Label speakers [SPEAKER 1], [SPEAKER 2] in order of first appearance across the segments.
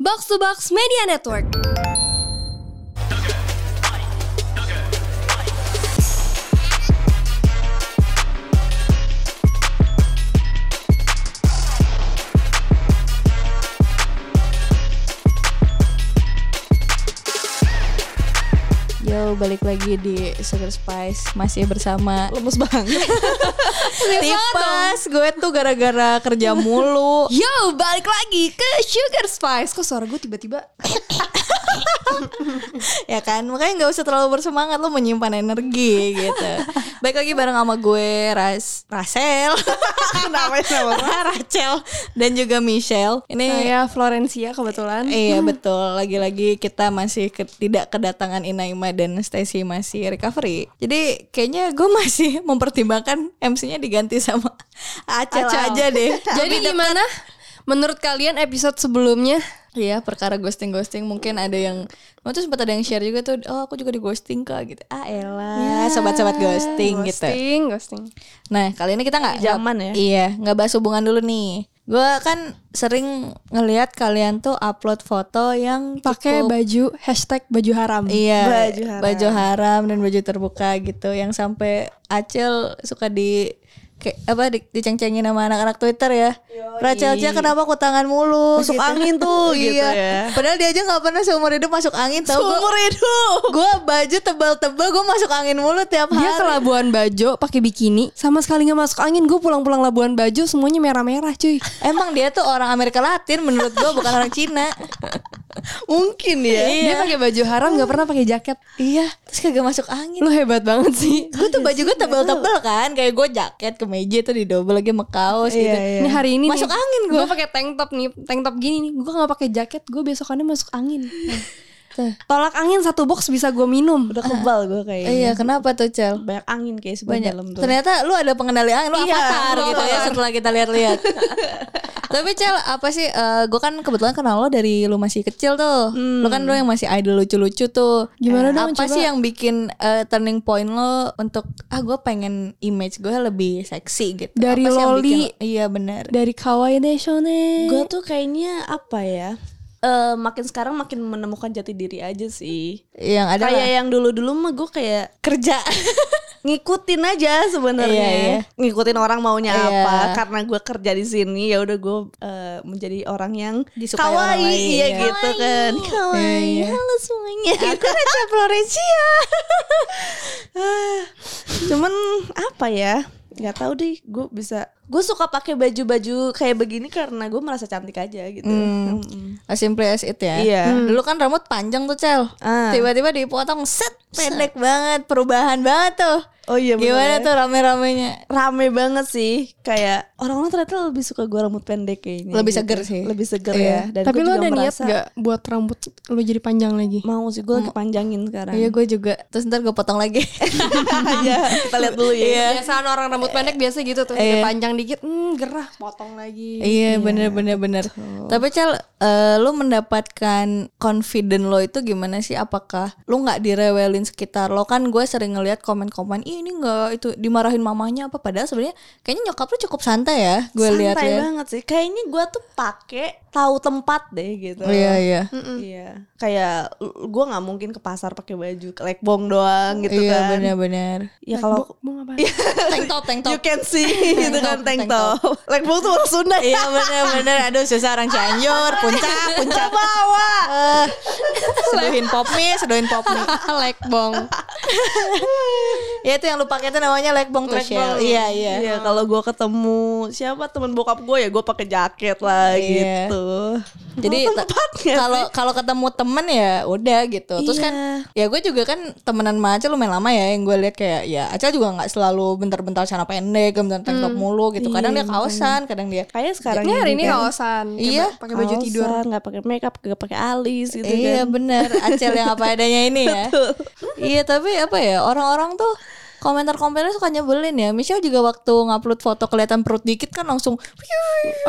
[SPEAKER 1] Box to Box Media Network.
[SPEAKER 2] Yo, balik lagi di Sugar Spice Masih bersama
[SPEAKER 3] lemes banget
[SPEAKER 4] Iya
[SPEAKER 2] Tipes, gue tuh gara-gara kerja mulu
[SPEAKER 1] Yo, balik lagi ke Sugar Spice. Kok suara gue tiba-tiba
[SPEAKER 2] Ya kan, makanya gak usah terlalu bersemangat Lo menyimpan energi gitu Baik lagi bareng sama gue, Ras Rasel
[SPEAKER 3] kenapa sama
[SPEAKER 2] Rachel Dan juga Michelle
[SPEAKER 4] Eh.
[SPEAKER 2] Ini
[SPEAKER 3] saya Florencia kebetulan
[SPEAKER 2] Iya betul, lagi-lagi kita masih ke- tidak kedatangan Inaima dan Stacy masih recovery. Jadi kayaknya gue masih mempertimbangkan MC-nya diganti sama Acel
[SPEAKER 3] Acel.
[SPEAKER 2] aja deh.
[SPEAKER 1] Jadi gimana? Menurut kalian episode sebelumnya?
[SPEAKER 2] Iya perkara ghosting ghosting mungkin ada yang waktu itu sempat ada yang share juga tuh oh aku juga di ghosting kak gitu ah elah sobat-sobat ghosting, gitu
[SPEAKER 3] Ya, ghosting ghosting
[SPEAKER 2] nah kali ini kita nggak
[SPEAKER 3] Di zaman ya.
[SPEAKER 2] iya nggak bahas hubungan dulu nih gue kan sering ngelihat kalian tuh upload foto yang
[SPEAKER 4] pakai
[SPEAKER 2] cukup-
[SPEAKER 4] baju hashtag baju haram.
[SPEAKER 2] iya
[SPEAKER 3] baju haram.
[SPEAKER 2] baju haram dan baju terbuka gitu yang sampai Acil suka di kayak apa di, diceng-cengin sama anak-anak Twitter ya. Rachel aja kenapa aku tangan mulu?
[SPEAKER 3] Masuk angin tuh, Oh gitu
[SPEAKER 2] Iya.
[SPEAKER 3] ya.
[SPEAKER 2] Padahal dia aja nggak pernah seumur hidup masuk angin tau Seumur hidup. Gue baju tebal-tebal, gue masuk angin mulu tiap hari.
[SPEAKER 4] Dia ke Labuan Bajo pakai bikini, sama sekali nggak masuk angin. Gue pulang-pulang Labuan Bajo semuanya merah-merah, cuy.
[SPEAKER 2] Emang dia tuh orang Amerika Latin menurut gue bukan orang Cina.
[SPEAKER 3] mungkin ya
[SPEAKER 1] Iya.
[SPEAKER 4] Dia pakai baju haram, nggak pernah pakai jaket.
[SPEAKER 2] iya, terus kagak masuk angin.
[SPEAKER 4] Lu hebat banget sih.
[SPEAKER 2] Gue tuh baju gue tebal-tebel kan, kayak gue jaket kemeja tuh di double lagi sama kaos gitu.
[SPEAKER 4] Ini hari iya. ini
[SPEAKER 2] Masuk angin gue.
[SPEAKER 4] Gue pakai tank top nih, tank top gini nih. Gue nggak pakai jaket, gue besokannya masuk angin. Tolak angin satu box bisa gue minum.
[SPEAKER 3] udah kebal gue kayaknya
[SPEAKER 2] Iya, kenapa tuh Cel?
[SPEAKER 3] banyak angin kayak sebelah
[SPEAKER 2] banyak
[SPEAKER 3] dalam tuh
[SPEAKER 2] ternyata lu ada pengendali angin lu
[SPEAKER 3] Iya,
[SPEAKER 2] avatar
[SPEAKER 3] lu
[SPEAKER 2] gitu ya
[SPEAKER 3] avatar.
[SPEAKER 2] setelah kita lihat-lihat tapi cel apa sih eh gue kan kebetulan kenal lo dari lu masih kecil tuh lu kan lo yang masih idol lucu-lucu tuh
[SPEAKER 4] Gimana
[SPEAKER 2] Eh,
[SPEAKER 4] dong,
[SPEAKER 2] apa
[SPEAKER 4] coba?
[SPEAKER 2] sih yang bikin eh, turning point lo untuk ah gue pengen image gue lebih seksi gitu
[SPEAKER 4] Dari
[SPEAKER 2] Apa sih yang
[SPEAKER 4] loli.
[SPEAKER 2] bikin- iya benar
[SPEAKER 4] Dari kawaii Neshone.
[SPEAKER 3] gue tuh kayaknya apa ya Eh makin sekarang makin menemukan jati diri aja sih
[SPEAKER 2] yang ada
[SPEAKER 3] kayak yang dulu-dulu mah gue kayak kerja ngikutin aja sebenarnya
[SPEAKER 2] Iya, iya.
[SPEAKER 3] ngikutin orang maunya
[SPEAKER 2] Iya.
[SPEAKER 3] apa karena gue kerja di sini ya udah gue eh, menjadi orang yang
[SPEAKER 2] Disukai
[SPEAKER 3] kawaii
[SPEAKER 2] orang lain,
[SPEAKER 3] iya
[SPEAKER 2] ya.
[SPEAKER 3] gitu kan kawaii
[SPEAKER 2] Iya, iya.
[SPEAKER 3] halo semuanya
[SPEAKER 2] aku Raja Florencia
[SPEAKER 3] Ah, cuman apa ya nggak tahu deh gue bisa gue suka pakai baju-baju kayak begini karena gue merasa cantik aja gitu Mm-mm.
[SPEAKER 2] Mm. As simple as it ya.
[SPEAKER 3] Iya.
[SPEAKER 2] Dulu kan rambut panjang tuh Cel.
[SPEAKER 3] Ah.
[SPEAKER 2] Tiba-tiba dipotong set pendek banget, perubahan banget tuh.
[SPEAKER 3] oh iya bener
[SPEAKER 2] Gimana
[SPEAKER 3] ya.
[SPEAKER 2] tuh rame-ramenya?
[SPEAKER 3] rame banget sih kayak orang-orang ternyata lebih suka gue rambut pendek kayaknya gitu.
[SPEAKER 2] Lebih seger sih.
[SPEAKER 3] lebih seger
[SPEAKER 2] Iya.
[SPEAKER 3] ya dan
[SPEAKER 4] Tapi lo
[SPEAKER 3] gua juga
[SPEAKER 4] ada niat
[SPEAKER 3] merasa
[SPEAKER 4] gak buat rambut lo jadi panjang lagi?
[SPEAKER 3] mau sih gue lagi panjangin sekarang
[SPEAKER 2] Iya gue juga. Terus ntar gue potong lagi.
[SPEAKER 3] Iya, kita lihat dulu ya
[SPEAKER 4] Biasaan orang rambut pendek biasa gitu tuh,
[SPEAKER 2] Iya.
[SPEAKER 4] udah panjang dikit, hmm, gerah, potong lagi.
[SPEAKER 2] iya bener bener bener. Tapi Cel, eh, lu mendapatkan confident lo itu gimana sih? Apakah lu nggak direwelin sekitar lo? Kan gue sering ngeliat komen-komen, Ih, ini nggak itu dimarahin mamanya apa? Padahal sebenarnya kayaknya nyokap lu cukup santai ya. Gue
[SPEAKER 3] santai
[SPEAKER 2] lihat ya.
[SPEAKER 3] banget sih kayaknya gue tuh pakai tahu tempat deh gitu
[SPEAKER 2] Iya iya.
[SPEAKER 3] Iya, kayak gue nggak mungkin ke pasar pakai baju lekbong doang gitu
[SPEAKER 2] iya
[SPEAKER 3] kan.
[SPEAKER 2] bener-bener.
[SPEAKER 3] Ya kalau
[SPEAKER 4] Mau ngapain? Iya,
[SPEAKER 2] tank top, tank top.
[SPEAKER 3] you can see gitu
[SPEAKER 2] Tank top,
[SPEAKER 3] kan tank
[SPEAKER 2] tank top.
[SPEAKER 3] top. Lekbong tuh orang Sunda ya.
[SPEAKER 2] Iya bener-bener Aduh susah orang Cianjur Puncak Puncak
[SPEAKER 3] Bawa.
[SPEAKER 2] Eh, Seduhin pop mie Seduhin pop mie
[SPEAKER 4] Lek bong.
[SPEAKER 2] Ya itu yang lu pakai itu namanya legbong tuh Shell Iya iya
[SPEAKER 3] Iya, kalau gue ketemu siapa temen bokap gue ya gue pakai jaket lah
[SPEAKER 2] Iya.
[SPEAKER 3] gitu.
[SPEAKER 2] jadi
[SPEAKER 3] Tahu
[SPEAKER 2] ta-
[SPEAKER 3] tempat nggak
[SPEAKER 2] kalau kalau ketemu temen ya udah gitu terus kan ya gue juga kan temenan sama Acel lumayan lama ya yang gue lihat kayak ya Acel juga nggak selalu bentar-bentar celana pendek bentar tank top mulu gitu kadang dia kaosan kadang dia
[SPEAKER 3] Kayak sekarang
[SPEAKER 4] Ini hari ini
[SPEAKER 3] kan,
[SPEAKER 4] kaosan. Kayak
[SPEAKER 2] Iya.
[SPEAKER 4] ba- Pakai baju
[SPEAKER 3] kaosan,
[SPEAKER 4] tidur.
[SPEAKER 3] nggak pakai makeup, nggak pakai alis gitu
[SPEAKER 2] iya
[SPEAKER 3] kan.
[SPEAKER 2] bener Acel yang apa adanya ini ya iya tapi apa ya orang-orang tuh komentar-komentarnya suka nyebelin ya. Michelle juga waktu ngupload foto kelihatan perut dikit kan langsung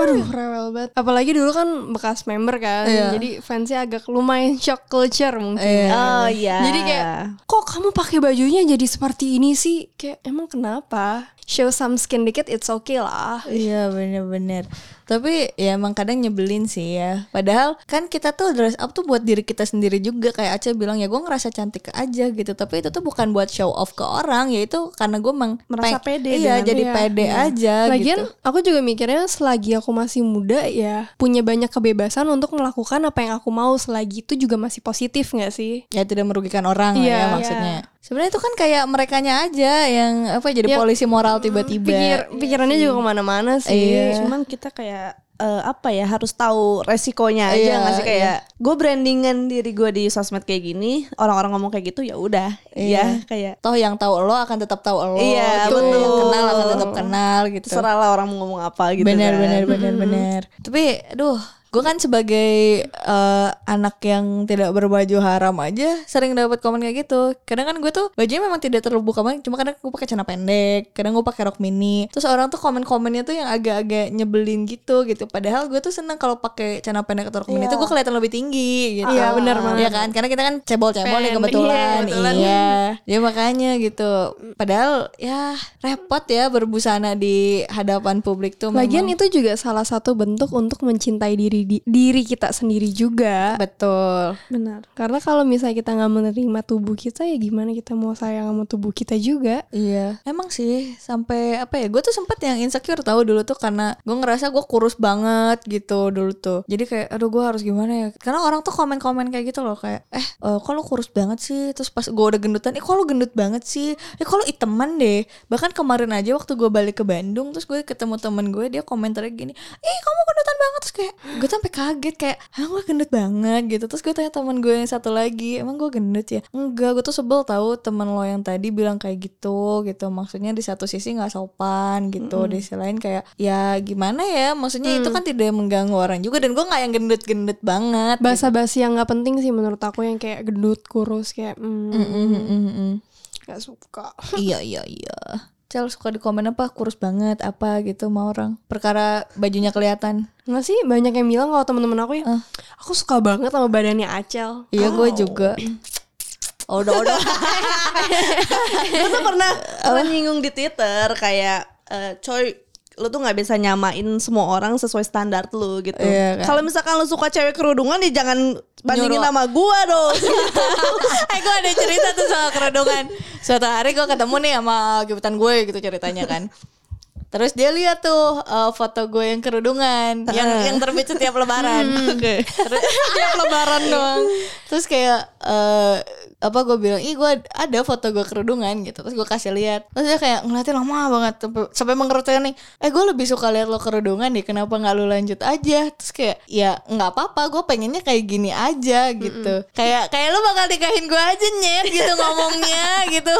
[SPEAKER 4] Aduh rewel banget. Apalagi dulu kan bekas member kan.
[SPEAKER 2] Iya.
[SPEAKER 4] Jadi fansnya agak lumayan shock culture mungkin.
[SPEAKER 2] Iya.
[SPEAKER 3] Oh iya.
[SPEAKER 4] Jadi kayak kok kamu pakai bajunya jadi seperti ini sih? Kayak emang kenapa? Show some skin dikit it's okay lah.
[SPEAKER 2] Iya bener-bener Tapi ya emang kadang nyebelin sih ya Padahal kan kita tuh dress up tuh buat diri kita sendiri juga Kayak Aca bilang ya gue ngerasa cantik aja gitu Tapi itu tuh bukan buat show off ke orang Ya itu karena gue meng
[SPEAKER 3] Merasa
[SPEAKER 2] peng-
[SPEAKER 3] pede
[SPEAKER 2] Iya
[SPEAKER 3] dengan-
[SPEAKER 2] jadi
[SPEAKER 4] iya,
[SPEAKER 2] pede aja
[SPEAKER 4] Lagian
[SPEAKER 2] gitu
[SPEAKER 4] aku juga mikirnya selagi aku masih muda ya punya banyak kebebasan untuk melakukan apa yang aku mau selagi itu juga masih positif nggak sih?
[SPEAKER 2] Ya tidak merugikan orang lah
[SPEAKER 4] Iya,
[SPEAKER 2] ya maksudnya Sebenarnya itu kan kayak merekanya aja Yang apa
[SPEAKER 4] Ya,
[SPEAKER 2] jadi polisi moral tiba-tiba
[SPEAKER 4] Pikir pikirannya juga kemana-mana sih.
[SPEAKER 2] Iya.
[SPEAKER 3] Cuman kita kayak eh, apa ya harus tahu resikonya aja
[SPEAKER 2] Iya,
[SPEAKER 3] nggak sih kayak gue brandingan diri gue di sosmed kayak gini orang-orang ngomong kayak gitu ya udah
[SPEAKER 2] Iya.
[SPEAKER 3] iya kayak
[SPEAKER 2] Toh yang tahu lo akan tetap tahu lo
[SPEAKER 3] Iya,
[SPEAKER 2] gitu. Yang
[SPEAKER 3] betul.
[SPEAKER 2] kenal akan tetap kenal gitu
[SPEAKER 3] terserahlah orang mau ngomong apa gitu
[SPEAKER 2] bener
[SPEAKER 3] kan.
[SPEAKER 2] bener bener bener tapi aduh gue kan sebagai eh, anak yang tidak berbaju haram aja sering dapat komen kayak gitu kadang kan gue tuh bajunya memang tidak terbuka banget cuma kadang gue pakai celana pendek kadang gue pakai rok mini terus orang tuh komen komennya tuh yang agak-agak nyebelin gitu gitu padahal gue tuh seneng kalau pakai celana pendek atau rok mini tuh gue kelihatan lebih tinggi gitu
[SPEAKER 4] Iya, bener banget.
[SPEAKER 2] Iya kan karena kita kan cebol-cebol nih
[SPEAKER 4] Pendek,
[SPEAKER 2] kebetulan
[SPEAKER 4] iya, kebetulan.
[SPEAKER 2] iya ya makanya gitu padahal ya repot ya berbusana di hadapan publik tuh memang.
[SPEAKER 4] Lagian itu juga salah satu bentuk untuk mencintai diri di- diri kita sendiri juga.
[SPEAKER 2] Betul.
[SPEAKER 4] Benar. Karena kalau misalnya kita nggak menerima tubuh kita ya gimana kita mau sayang sama tubuh kita juga?
[SPEAKER 2] Iya, emang sih sampai apa ya? Gue tuh sempet yang insecure tahu dulu tuh karena gue ngerasa gue kurus banget gitu dulu tuh. Jadi kayak, aduh gue harus gimana ya? Karena orang tuh komen-komen kayak gitu loh kayak, eh, eh kok lo kurus banget sih? Terus pas gue udah gendutan, eh kok lo gendut banget sih? Eh kok lo iteman deh? Bahkan kemarin aja waktu gue balik ke Bandung, terus gue ketemu temen gue, dia komentarnya gini, ih kamu gendutan banget terus kayak gue sampai kaget kayak, ah gue gendut banget gitu. Terus gue tanya temen gue yang satu lagi, emang gue gendut ya? Enggak, gue tuh sebel tahu temen lo yang tadi bilang kayak gitu gitu. Maksudnya di satu sisi nggak sopan gitu, di sisi lain kayak ya gimana ya? Maksudnya itu kan tidak mengganggu orang juga dan gue nggak yang gendut-gendut banget.
[SPEAKER 4] Bahasa-bahasa yang nggak penting sih menurut aku yang kayak gendut, kurus kayak
[SPEAKER 2] Mm,
[SPEAKER 4] hmm,
[SPEAKER 2] mm, mm, mm, mm.
[SPEAKER 4] nggak suka.
[SPEAKER 2] iya iya iya. Cel suka di komen apa kurus banget apa gitu sama orang. Perkara bajunya kelihatan.
[SPEAKER 4] Nggak sih banyak yang bilang kalau temen-temen aku ya,
[SPEAKER 2] Ah.
[SPEAKER 4] aku suka banget sama badannya Acel.
[SPEAKER 2] Iya gue juga. Oh, udah udah.
[SPEAKER 3] gue tuh pernah
[SPEAKER 2] Oh.
[SPEAKER 3] pernah nyinggung di Twitter kayak eh, coy lu tuh nggak bisa nyamain semua orang sesuai standar lu gitu.
[SPEAKER 2] Iya kan.
[SPEAKER 3] Kalau misalkan lu suka cewek kerudungan ya jangan bandingin
[SPEAKER 2] Nyuruh.
[SPEAKER 3] sama gua dong.
[SPEAKER 2] eh gue ada cerita tuh soal kerudungan Suatu hari gue ketemu nih sama gebetan gue gitu ceritanya kan Terus dia lihat tuh eh, foto gue yang kerudungan yang yang terbit setiap lebaran.
[SPEAKER 3] Hmm. Gitu.
[SPEAKER 2] Terus setiap lebaran doang. Terus kayak eh, apa gue bilang, "Ih, gue ada foto gue kerudungan." gitu. Terus gue kasih lihat. Terus dia kayak ngeliatin lama banget sampai- sampai mengerutnya nih. "Eh, gue lebih suka lihat lo kerudungan deh. Kenapa nggak lo lanjut aja?" Terus kayak, "Ya, nggak apa-apa. Gue pengennya kayak gini aja." gitu. Kayak kayak lo bakal nikahin gue aja, Nyet, gitu ngomongnya gitu.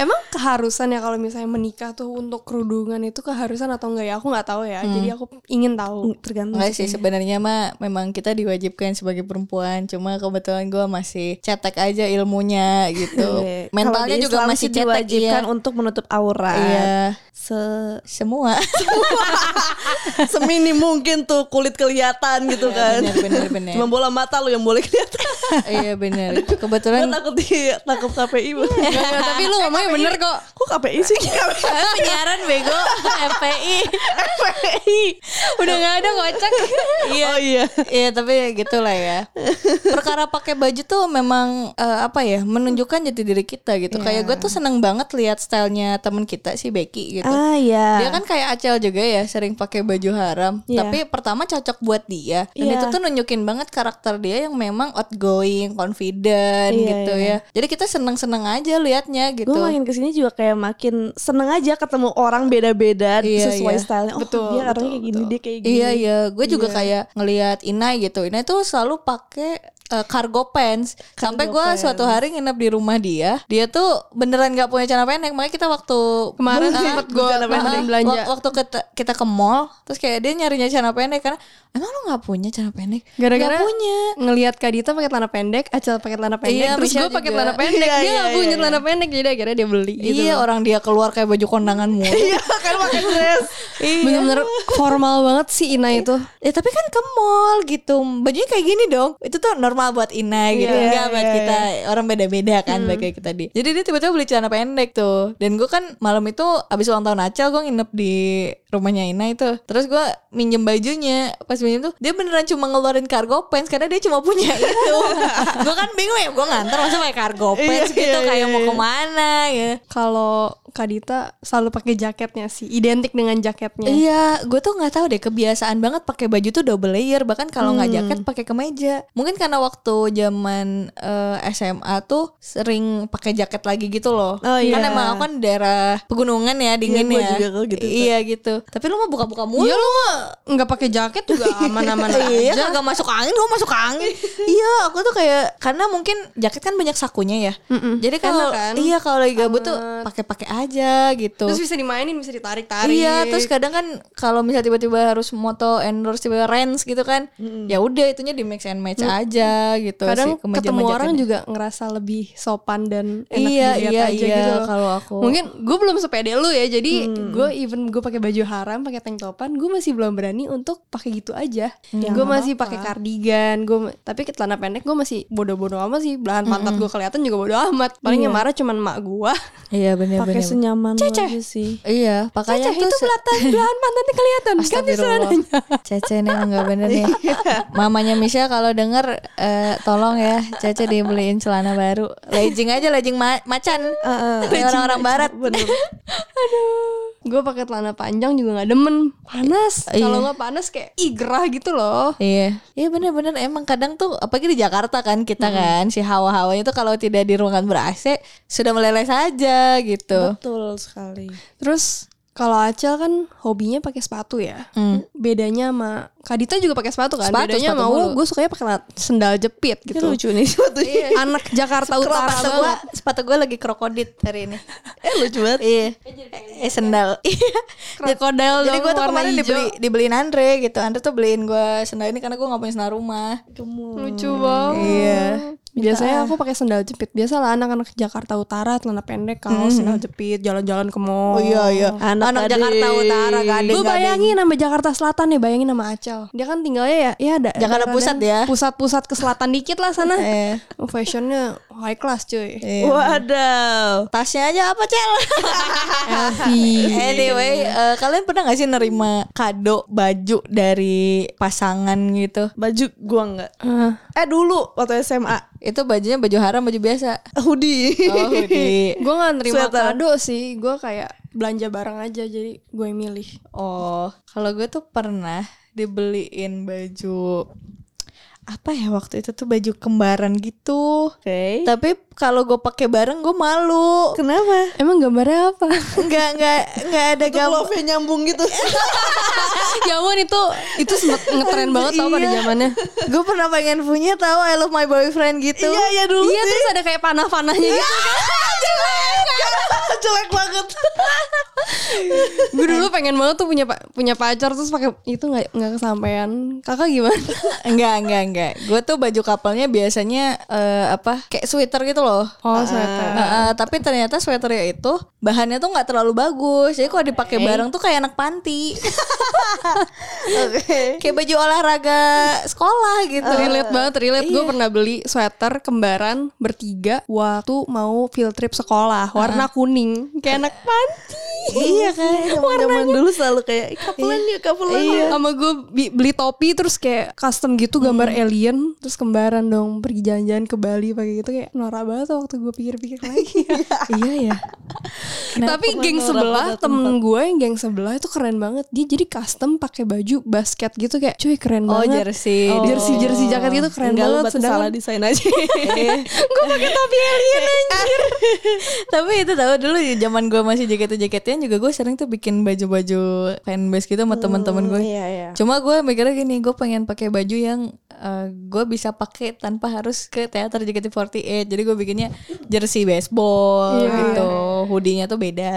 [SPEAKER 4] Emang keharusan ya kalau misalnya menikah tuh untuk kerudungan itu keharusan atau enggak ya aku nggak tahu ya. Jadi aku ingin tahu.
[SPEAKER 3] Tergantung.
[SPEAKER 2] Enggak Hmm. Mm, sih sebenarnya mah memang kita diwajibkan sebagai perempuan cuma kebetulan gua masih cetek aja ilmunya gitu
[SPEAKER 3] Oke. Kalau
[SPEAKER 2] mentalnya
[SPEAKER 3] di
[SPEAKER 2] juga
[SPEAKER 3] Islam
[SPEAKER 2] masih
[SPEAKER 3] sih
[SPEAKER 2] cetek
[SPEAKER 3] diwajibkan
[SPEAKER 2] iya.
[SPEAKER 3] untuk menutup aurat.
[SPEAKER 2] Iya.
[SPEAKER 3] Se
[SPEAKER 2] semua
[SPEAKER 3] semini mungkin tuh kulit kelihatan gitu kan.
[SPEAKER 2] Iya, bener bener bener
[SPEAKER 3] Cuma bola mata lu yang boleh kelihatan.
[SPEAKER 2] iya bener
[SPEAKER 3] Gue
[SPEAKER 2] kebetulan
[SPEAKER 3] takut ditangkap KPI. banget.
[SPEAKER 2] Enggak, tapi lu ngomongnya bener kok
[SPEAKER 3] Kok KPI sih? KPI.
[SPEAKER 2] penyiaran bego FPI udah nggak ada kocak iya
[SPEAKER 3] Oh iya.
[SPEAKER 2] Iya tapi gitulah ya. Perkara pakai baju tuh memang eh, apa ya menunjukkan jati diri kita gitu. Kayak gue tuh seneng banget lihat stylenya temen kita si Becky gitu.
[SPEAKER 3] Ah iya.
[SPEAKER 2] Dia kan kayak Acel juga ya, sering pakai baju haram.
[SPEAKER 3] Iya.
[SPEAKER 2] Tapi pertama cocok buat dia, dan
[SPEAKER 3] Iya.
[SPEAKER 2] itu tuh nunjukin banget karakter dia yang memang outgoing, confident
[SPEAKER 3] Iya,
[SPEAKER 2] gitu
[SPEAKER 3] iya.
[SPEAKER 2] ya. Jadi kita seneng-seneng aja liatnya gitu.
[SPEAKER 3] Gue makin kesini juga kayak makin seneng aja ketemu orang beda-beda
[SPEAKER 2] Iya,
[SPEAKER 3] sesuai
[SPEAKER 2] iya.
[SPEAKER 3] stylenya. Oh
[SPEAKER 4] Betul,
[SPEAKER 3] dia orangnya
[SPEAKER 4] betul,
[SPEAKER 3] kayak gini, dia kayak gini.
[SPEAKER 2] Iya iya, gue juga kayak ngelihat Ina gitu. Ina tuh selalu pakai eh, cargo pants sampai gue suatu hari nginep di rumah dia dia tuh beneran nggak punya celana pendek makanya kita waktu
[SPEAKER 4] Kemarin
[SPEAKER 2] Ah,
[SPEAKER 4] sempet gue
[SPEAKER 2] celana pendek.
[SPEAKER 4] kemarin belanja.
[SPEAKER 2] Wak- waktu kita, kita ke mall terus kayak dia nyarinya celana pendek karena emang lu nggak punya celana pendek
[SPEAKER 4] Gara-gara
[SPEAKER 2] Nggak punya
[SPEAKER 4] ngelihat Kak Dita pakai celana pendek, Acel pakai celana pendek,
[SPEAKER 2] Iya,
[SPEAKER 4] terus
[SPEAKER 2] Michelle
[SPEAKER 4] gue pakai
[SPEAKER 2] juga.
[SPEAKER 4] celana pendek,
[SPEAKER 3] Iya,
[SPEAKER 4] dia
[SPEAKER 3] iya,
[SPEAKER 4] nggak punya
[SPEAKER 3] iya,
[SPEAKER 4] celana pendek, jadi akhirnya dia beli. Gitu
[SPEAKER 2] iya orang dia keluar kayak baju kondangan mulu Iya.
[SPEAKER 3] Iya kan pakai dress.
[SPEAKER 4] Bener-bener formal banget sih Ina itu.
[SPEAKER 2] Ya tapi kan ke mall gitu Bajunya kayak gini dong Itu tuh normal buat Ina gitu
[SPEAKER 3] Iya,
[SPEAKER 2] Enggak buat
[SPEAKER 3] iya, Hmm.
[SPEAKER 2] kita Orang beda-beda kan Baik kayak kita di Jadi dia tiba-tiba beli celana pendek tuh Dan gue kan malam itu Abis ulang tahun Acel Gue nginep di rumahnya Ina itu Terus gue minjem bajunya Pas minjem tuh Dia beneran cuma ngeluarin cargo pants Karena dia cuma punya itu Gue kan bingung ya Gue nganter masa pakai cargo pants
[SPEAKER 3] Iya,
[SPEAKER 2] gitu
[SPEAKER 3] iya,
[SPEAKER 2] Kayak
[SPEAKER 3] iya,
[SPEAKER 2] mau
[SPEAKER 3] iya.
[SPEAKER 2] kemana gitu
[SPEAKER 4] Kalau Kak Dita selalu pakai jaketnya sih, identik dengan jaketnya.
[SPEAKER 2] Iya, gue tuh nggak tahu deh kebiasaan banget pakai baju tuh double layer bahkan kalau nggak
[SPEAKER 3] Hmm.
[SPEAKER 2] jaket pakai kemeja. Mungkin karena waktu zaman eh, SMA tuh sering pakai jaket lagi gitu loh. Kan
[SPEAKER 3] Oh, iya.
[SPEAKER 2] emang aku kan daerah pegunungan ya dingin
[SPEAKER 3] gua
[SPEAKER 2] ya.
[SPEAKER 3] juga kok gitu tuh.
[SPEAKER 2] Iya gitu. Tapi lu mah buka-buka mulu.
[SPEAKER 4] Iya lu mah nggak pakai jaket juga aman-aman
[SPEAKER 2] Iya,
[SPEAKER 4] aja.
[SPEAKER 3] kan?
[SPEAKER 2] kagak masuk angin, gue masuk angin. iya, aku tuh kayak karena mungkin jaket kan banyak sakunya ya. Jadi kalau
[SPEAKER 4] Enak kan?
[SPEAKER 2] iya kalau lagi gabut tuh pakai-pakai aja gitu.
[SPEAKER 4] Terus bisa dimainin, bisa ditarik-tarik.
[SPEAKER 2] Iya, terus kadang kan kalau misalnya tiba-tiba harus moto endorse tiba-tiba rents gitu kan, ya udah itunya di mix and match aja gitu.
[SPEAKER 4] kadang
[SPEAKER 2] si kemeja-meja
[SPEAKER 4] ketemu orang
[SPEAKER 2] kan.
[SPEAKER 4] juga ngerasa lebih sopan dan enak
[SPEAKER 2] Iya,
[SPEAKER 4] dilihat
[SPEAKER 2] iya,
[SPEAKER 4] aja
[SPEAKER 2] iya,
[SPEAKER 4] gitu loh.
[SPEAKER 2] kalau aku. Hmm.
[SPEAKER 4] mungkin gue belum sepede lu ya jadi gue even gue pakai baju haram pakai tank topan gue masih belum berani untuk pakai gitu aja
[SPEAKER 2] Ya,
[SPEAKER 4] gue masih pakai kardigan gue tapi ke celana pendek gue masih bodoh-bodoh amat sih belahan pantat gue kelihatan juga bodoh amat paling yang marah cuman mak gue
[SPEAKER 2] Iya benar
[SPEAKER 3] Pakai
[SPEAKER 2] benar.
[SPEAKER 3] senyaman lu aja sih.
[SPEAKER 2] Iya, pakainya
[SPEAKER 4] itu
[SPEAKER 2] tuh se-
[SPEAKER 4] belatan belahan pantatnya kelihatan kan di
[SPEAKER 2] Astagfirullah.
[SPEAKER 4] celananya.
[SPEAKER 2] Cece nih emang gak bener nih.
[SPEAKER 4] Iya.
[SPEAKER 2] Mamanya Michelle kalau denger eh, tolong ya Cece dibeliin celana baru. Legging aja legging ma- macan. Kayak orang-orang barat.
[SPEAKER 3] Bener.
[SPEAKER 4] gue pakai celana panjang juga nggak demen panas
[SPEAKER 2] Iya.
[SPEAKER 4] kalau nggak panas kayak ih gerah gitu loh
[SPEAKER 2] Iya, iya bener-bener emang kadang tuh apalagi di Jakarta kan kita kan si hawa-hawanya tuh kalau tidak di ruangan ber AC sudah meleleh saja gitu.
[SPEAKER 3] Betul sekali.
[SPEAKER 4] Terus kalau Acel kan hobinya pakai sepatu ya. Bedanya sama Kadita juga pakai sepatu kan.
[SPEAKER 2] Sepatu,
[SPEAKER 4] Bedanya
[SPEAKER 2] sepatu
[SPEAKER 4] sama
[SPEAKER 2] mulu.
[SPEAKER 4] gue sukanya pakai la- sendal jepit
[SPEAKER 3] Ini
[SPEAKER 4] gitu.
[SPEAKER 3] lucu nih sepatunya.
[SPEAKER 4] Anak Jakarta Utara
[SPEAKER 2] sepatu gue
[SPEAKER 4] banget.
[SPEAKER 2] sepatu gue lagi krokodit hari ini.
[SPEAKER 3] Eh lucu banget.
[SPEAKER 2] iya. Eh sendal. Iya.
[SPEAKER 4] Krokodil
[SPEAKER 2] Jadi
[SPEAKER 4] dong,
[SPEAKER 2] gue tuh
[SPEAKER 4] warna
[SPEAKER 2] kemarin
[SPEAKER 4] hijau.
[SPEAKER 2] dibeli dibeliin Andre gitu. Andre tuh beliin gue sendal ini karena gue nggak punya sendal rumah.
[SPEAKER 4] Lucu banget.
[SPEAKER 2] Iya.
[SPEAKER 4] Biasanya aku pakai sendal jepit. Biasalah anak-anak Jakarta Utara celana pendek kaos sendal jepit jalan-jalan ke mall.
[SPEAKER 2] Oh iya iya.
[SPEAKER 3] Anak
[SPEAKER 2] Anak,
[SPEAKER 3] gading.
[SPEAKER 2] Jakarta Utara gading.
[SPEAKER 4] Gue
[SPEAKER 2] gading.
[SPEAKER 4] bayangin sama Jakarta Selatan nih, bayangin sama Acel. Dia kan tinggalnya ya, ya ada
[SPEAKER 2] Jakarta pusat ya.
[SPEAKER 4] Pusat-pusat ke selatan dikit lah sana.
[SPEAKER 2] Eh.
[SPEAKER 4] Oh, Fashionnya high class cuy.
[SPEAKER 2] Iya.
[SPEAKER 3] Waduh.
[SPEAKER 2] Tasnya aja apa cel? anyway, eh, kalian pernah gak sih nerima kado baju dari pasangan gitu?
[SPEAKER 3] Baju gua enggak. Eh dulu waktu SMA
[SPEAKER 2] Itu bajunya baju haram, baju biasa.
[SPEAKER 3] hoodie.
[SPEAKER 2] Oh, hoodie.
[SPEAKER 4] gue gak nerima
[SPEAKER 3] Sweater.
[SPEAKER 4] kado sih gue kayak belanja barang aja jadi gue milih
[SPEAKER 2] Oh, kalau gue tuh pernah dibeliin baju apa ya waktu itu tuh baju kembaran gitu.
[SPEAKER 3] Oke.
[SPEAKER 2] Tapi kalau gue pakai bareng gue malu.
[SPEAKER 3] Kenapa?
[SPEAKER 4] emang gambarnya apa
[SPEAKER 2] Enggak enggak enggak ada
[SPEAKER 3] Itu
[SPEAKER 2] gambar.
[SPEAKER 3] love nyambung gitu.
[SPEAKER 4] ya ampun itu itu sempet ngetren banget tau pada zamannya
[SPEAKER 2] Gue pernah pengen punya tahu I love my boyfriend gitu.
[SPEAKER 3] Iya, iya dulu
[SPEAKER 4] iya
[SPEAKER 3] sih.
[SPEAKER 4] terus ada kayak panah-panahnya gitu
[SPEAKER 3] Jelek banget.
[SPEAKER 4] gue dulu pengen banget tuh punya pa- punya pacar terus pakai itu nggak nggak kesampaian kakak gimana
[SPEAKER 2] enggak enggak enggak gue tuh baju kapalnya biasanya eh, apa kayak sweater gitu loh
[SPEAKER 4] oh
[SPEAKER 3] Ah.
[SPEAKER 4] sweater
[SPEAKER 2] Heeh, tapi ternyata sweaternya itu bahannya tuh nggak terlalu bagus jadi kalau dipakai bareng tuh kayak anak panti
[SPEAKER 3] Oke.
[SPEAKER 2] kayak baju olahraga sekolah gitu
[SPEAKER 3] Oh.
[SPEAKER 4] Relate banget, relate.
[SPEAKER 2] Iya.
[SPEAKER 4] Gue pernah beli sweater kembaran bertiga waktu mau field trip sekolah, warna kuning, kayak anak panti.
[SPEAKER 3] Iya kan. Zaman dulu selalu kayak "Ih, kapelan yuk, kapelan yuk.
[SPEAKER 2] Iya.
[SPEAKER 4] sama gue beli topi terus kayak custom gitu gambar
[SPEAKER 2] Hmm.
[SPEAKER 4] alien terus kembaran dong pergi jalan-jalan ke Bali pakai gitu kayak norak banget tuh waktu gue pikir-pikir lagi
[SPEAKER 2] iya ya
[SPEAKER 4] tapi geng sebelah temen gue yang geng sebelah itu keren banget dia jadi custom pakai baju basket gitu kayak cuy keren
[SPEAKER 2] oh
[SPEAKER 4] banget
[SPEAKER 2] jersey
[SPEAKER 4] Oh. jersey jersey jaket gitu keren
[SPEAKER 3] Enggak lu
[SPEAKER 4] banget
[SPEAKER 3] berarti salah
[SPEAKER 4] sedangkan
[SPEAKER 3] desain aja.
[SPEAKER 2] gue pakai topi alien anjir tapi itu tahu dulu di zaman gue masih jaket jaketnya kuliah juga gue sering tuh bikin baju-baju fanbase gitu sama teman-teman gue.
[SPEAKER 3] Iya, iya.
[SPEAKER 2] Cuma gue mikirnya gini, gue pengen pakai baju yang eh, gue bisa pakai tanpa harus ke teater JKT48. Jadi gue bikinnya jersey baseball gitu, hoodie-nya tuh beda,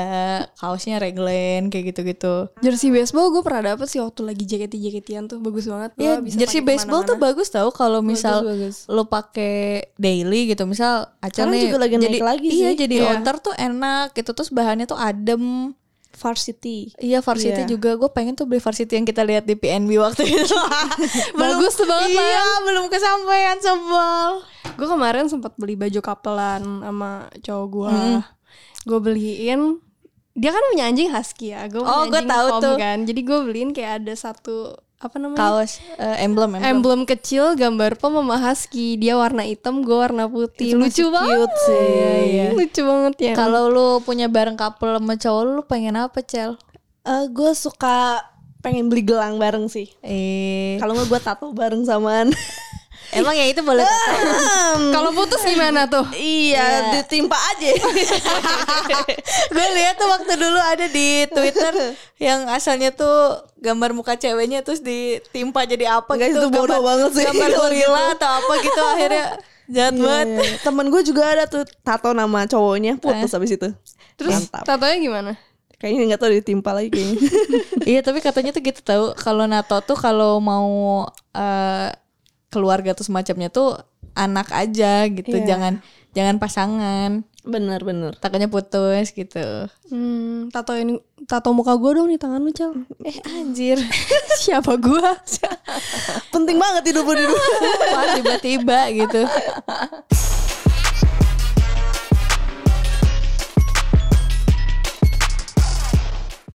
[SPEAKER 2] kaosnya reglen kayak gitu-gitu.
[SPEAKER 4] Jersey baseball gue pernah dapet sih waktu lagi JKT-JKT-an tuh bagus banget. Gua
[SPEAKER 2] Iya,
[SPEAKER 4] bisa
[SPEAKER 2] jersey
[SPEAKER 4] pakai
[SPEAKER 2] baseball tuh bagus tau kalau misal
[SPEAKER 4] bagus.
[SPEAKER 2] lo pakai daily gitu, misal acara
[SPEAKER 3] Sekarang
[SPEAKER 2] nih
[SPEAKER 3] juga lagi naik
[SPEAKER 2] jadi
[SPEAKER 3] lagi
[SPEAKER 2] iya
[SPEAKER 3] sih.
[SPEAKER 2] jadi
[SPEAKER 4] Iya.
[SPEAKER 2] outer tuh enak gitu terus bahannya tuh adem.
[SPEAKER 3] Varsity.
[SPEAKER 2] Iya varsity
[SPEAKER 3] Iya.
[SPEAKER 2] juga gue pengen tuh beli varsity yang kita lihat di PNB waktu itu bagus tuh banget
[SPEAKER 1] Iya,
[SPEAKER 2] Lan.
[SPEAKER 1] belum kesampaian sebel.
[SPEAKER 4] Gue kemarin sempat beli baju kapelan sama cowok gue. Gue beliin dia kan punya anjing husky ya. Gue
[SPEAKER 2] Oh, gua tahu tuh.
[SPEAKER 4] kan. Jadi gue beliin kayak ada satu apa namanya?
[SPEAKER 2] kaos eh, emblem emblem
[SPEAKER 4] Emblem kecil gambar pom sama husky. Dia warna hitam, gue warna putih. Lucu banget.
[SPEAKER 3] sih.
[SPEAKER 4] Iya, iya. Lucu banget ya.
[SPEAKER 2] kalau lu punya bareng couple sama cowok lu pengen apa cel
[SPEAKER 3] Eh, gue suka pengen beli gelang bareng sih.
[SPEAKER 2] eh
[SPEAKER 3] Kalau nggak gue tato bareng samaan.
[SPEAKER 2] emang ya itu boleh
[SPEAKER 4] kalau putus gimana tuh?
[SPEAKER 3] iya, ditimpa aja.
[SPEAKER 2] gue lihat tuh waktu dulu ada di twitter yang asalnya tuh gambar muka ceweknya terus ditimpa jadi apa
[SPEAKER 3] Guys,
[SPEAKER 2] gitu
[SPEAKER 3] itu
[SPEAKER 2] gambar,
[SPEAKER 3] bodoh banget sih.
[SPEAKER 2] gambar
[SPEAKER 3] Kalau
[SPEAKER 2] gorila atau apa gitu akhirnya jahat banget
[SPEAKER 3] Iya. Temen gue juga ada tuh tato nama cowoknya putus habis itu.
[SPEAKER 4] Terus
[SPEAKER 3] Mantap.
[SPEAKER 4] tatonya gimana?
[SPEAKER 3] Kayaknya nggak tahu ditimpa lagi kayaknya.
[SPEAKER 2] iya tapi katanya tuh gitu tahu kalau nato tuh kalau mau eh, keluarga tuh semacamnya tuh anak aja gitu
[SPEAKER 3] Iya.
[SPEAKER 2] jangan jangan pasangan
[SPEAKER 3] bener bener.
[SPEAKER 2] takutnya putus gitu
[SPEAKER 4] Hmm, tatoin tato muka gue dong di tangan lu, Cel.
[SPEAKER 2] eh anjir
[SPEAKER 4] Siapa gua?
[SPEAKER 3] Penting banget hidup lu di dunia.
[SPEAKER 2] Wah, tiba-tiba gitu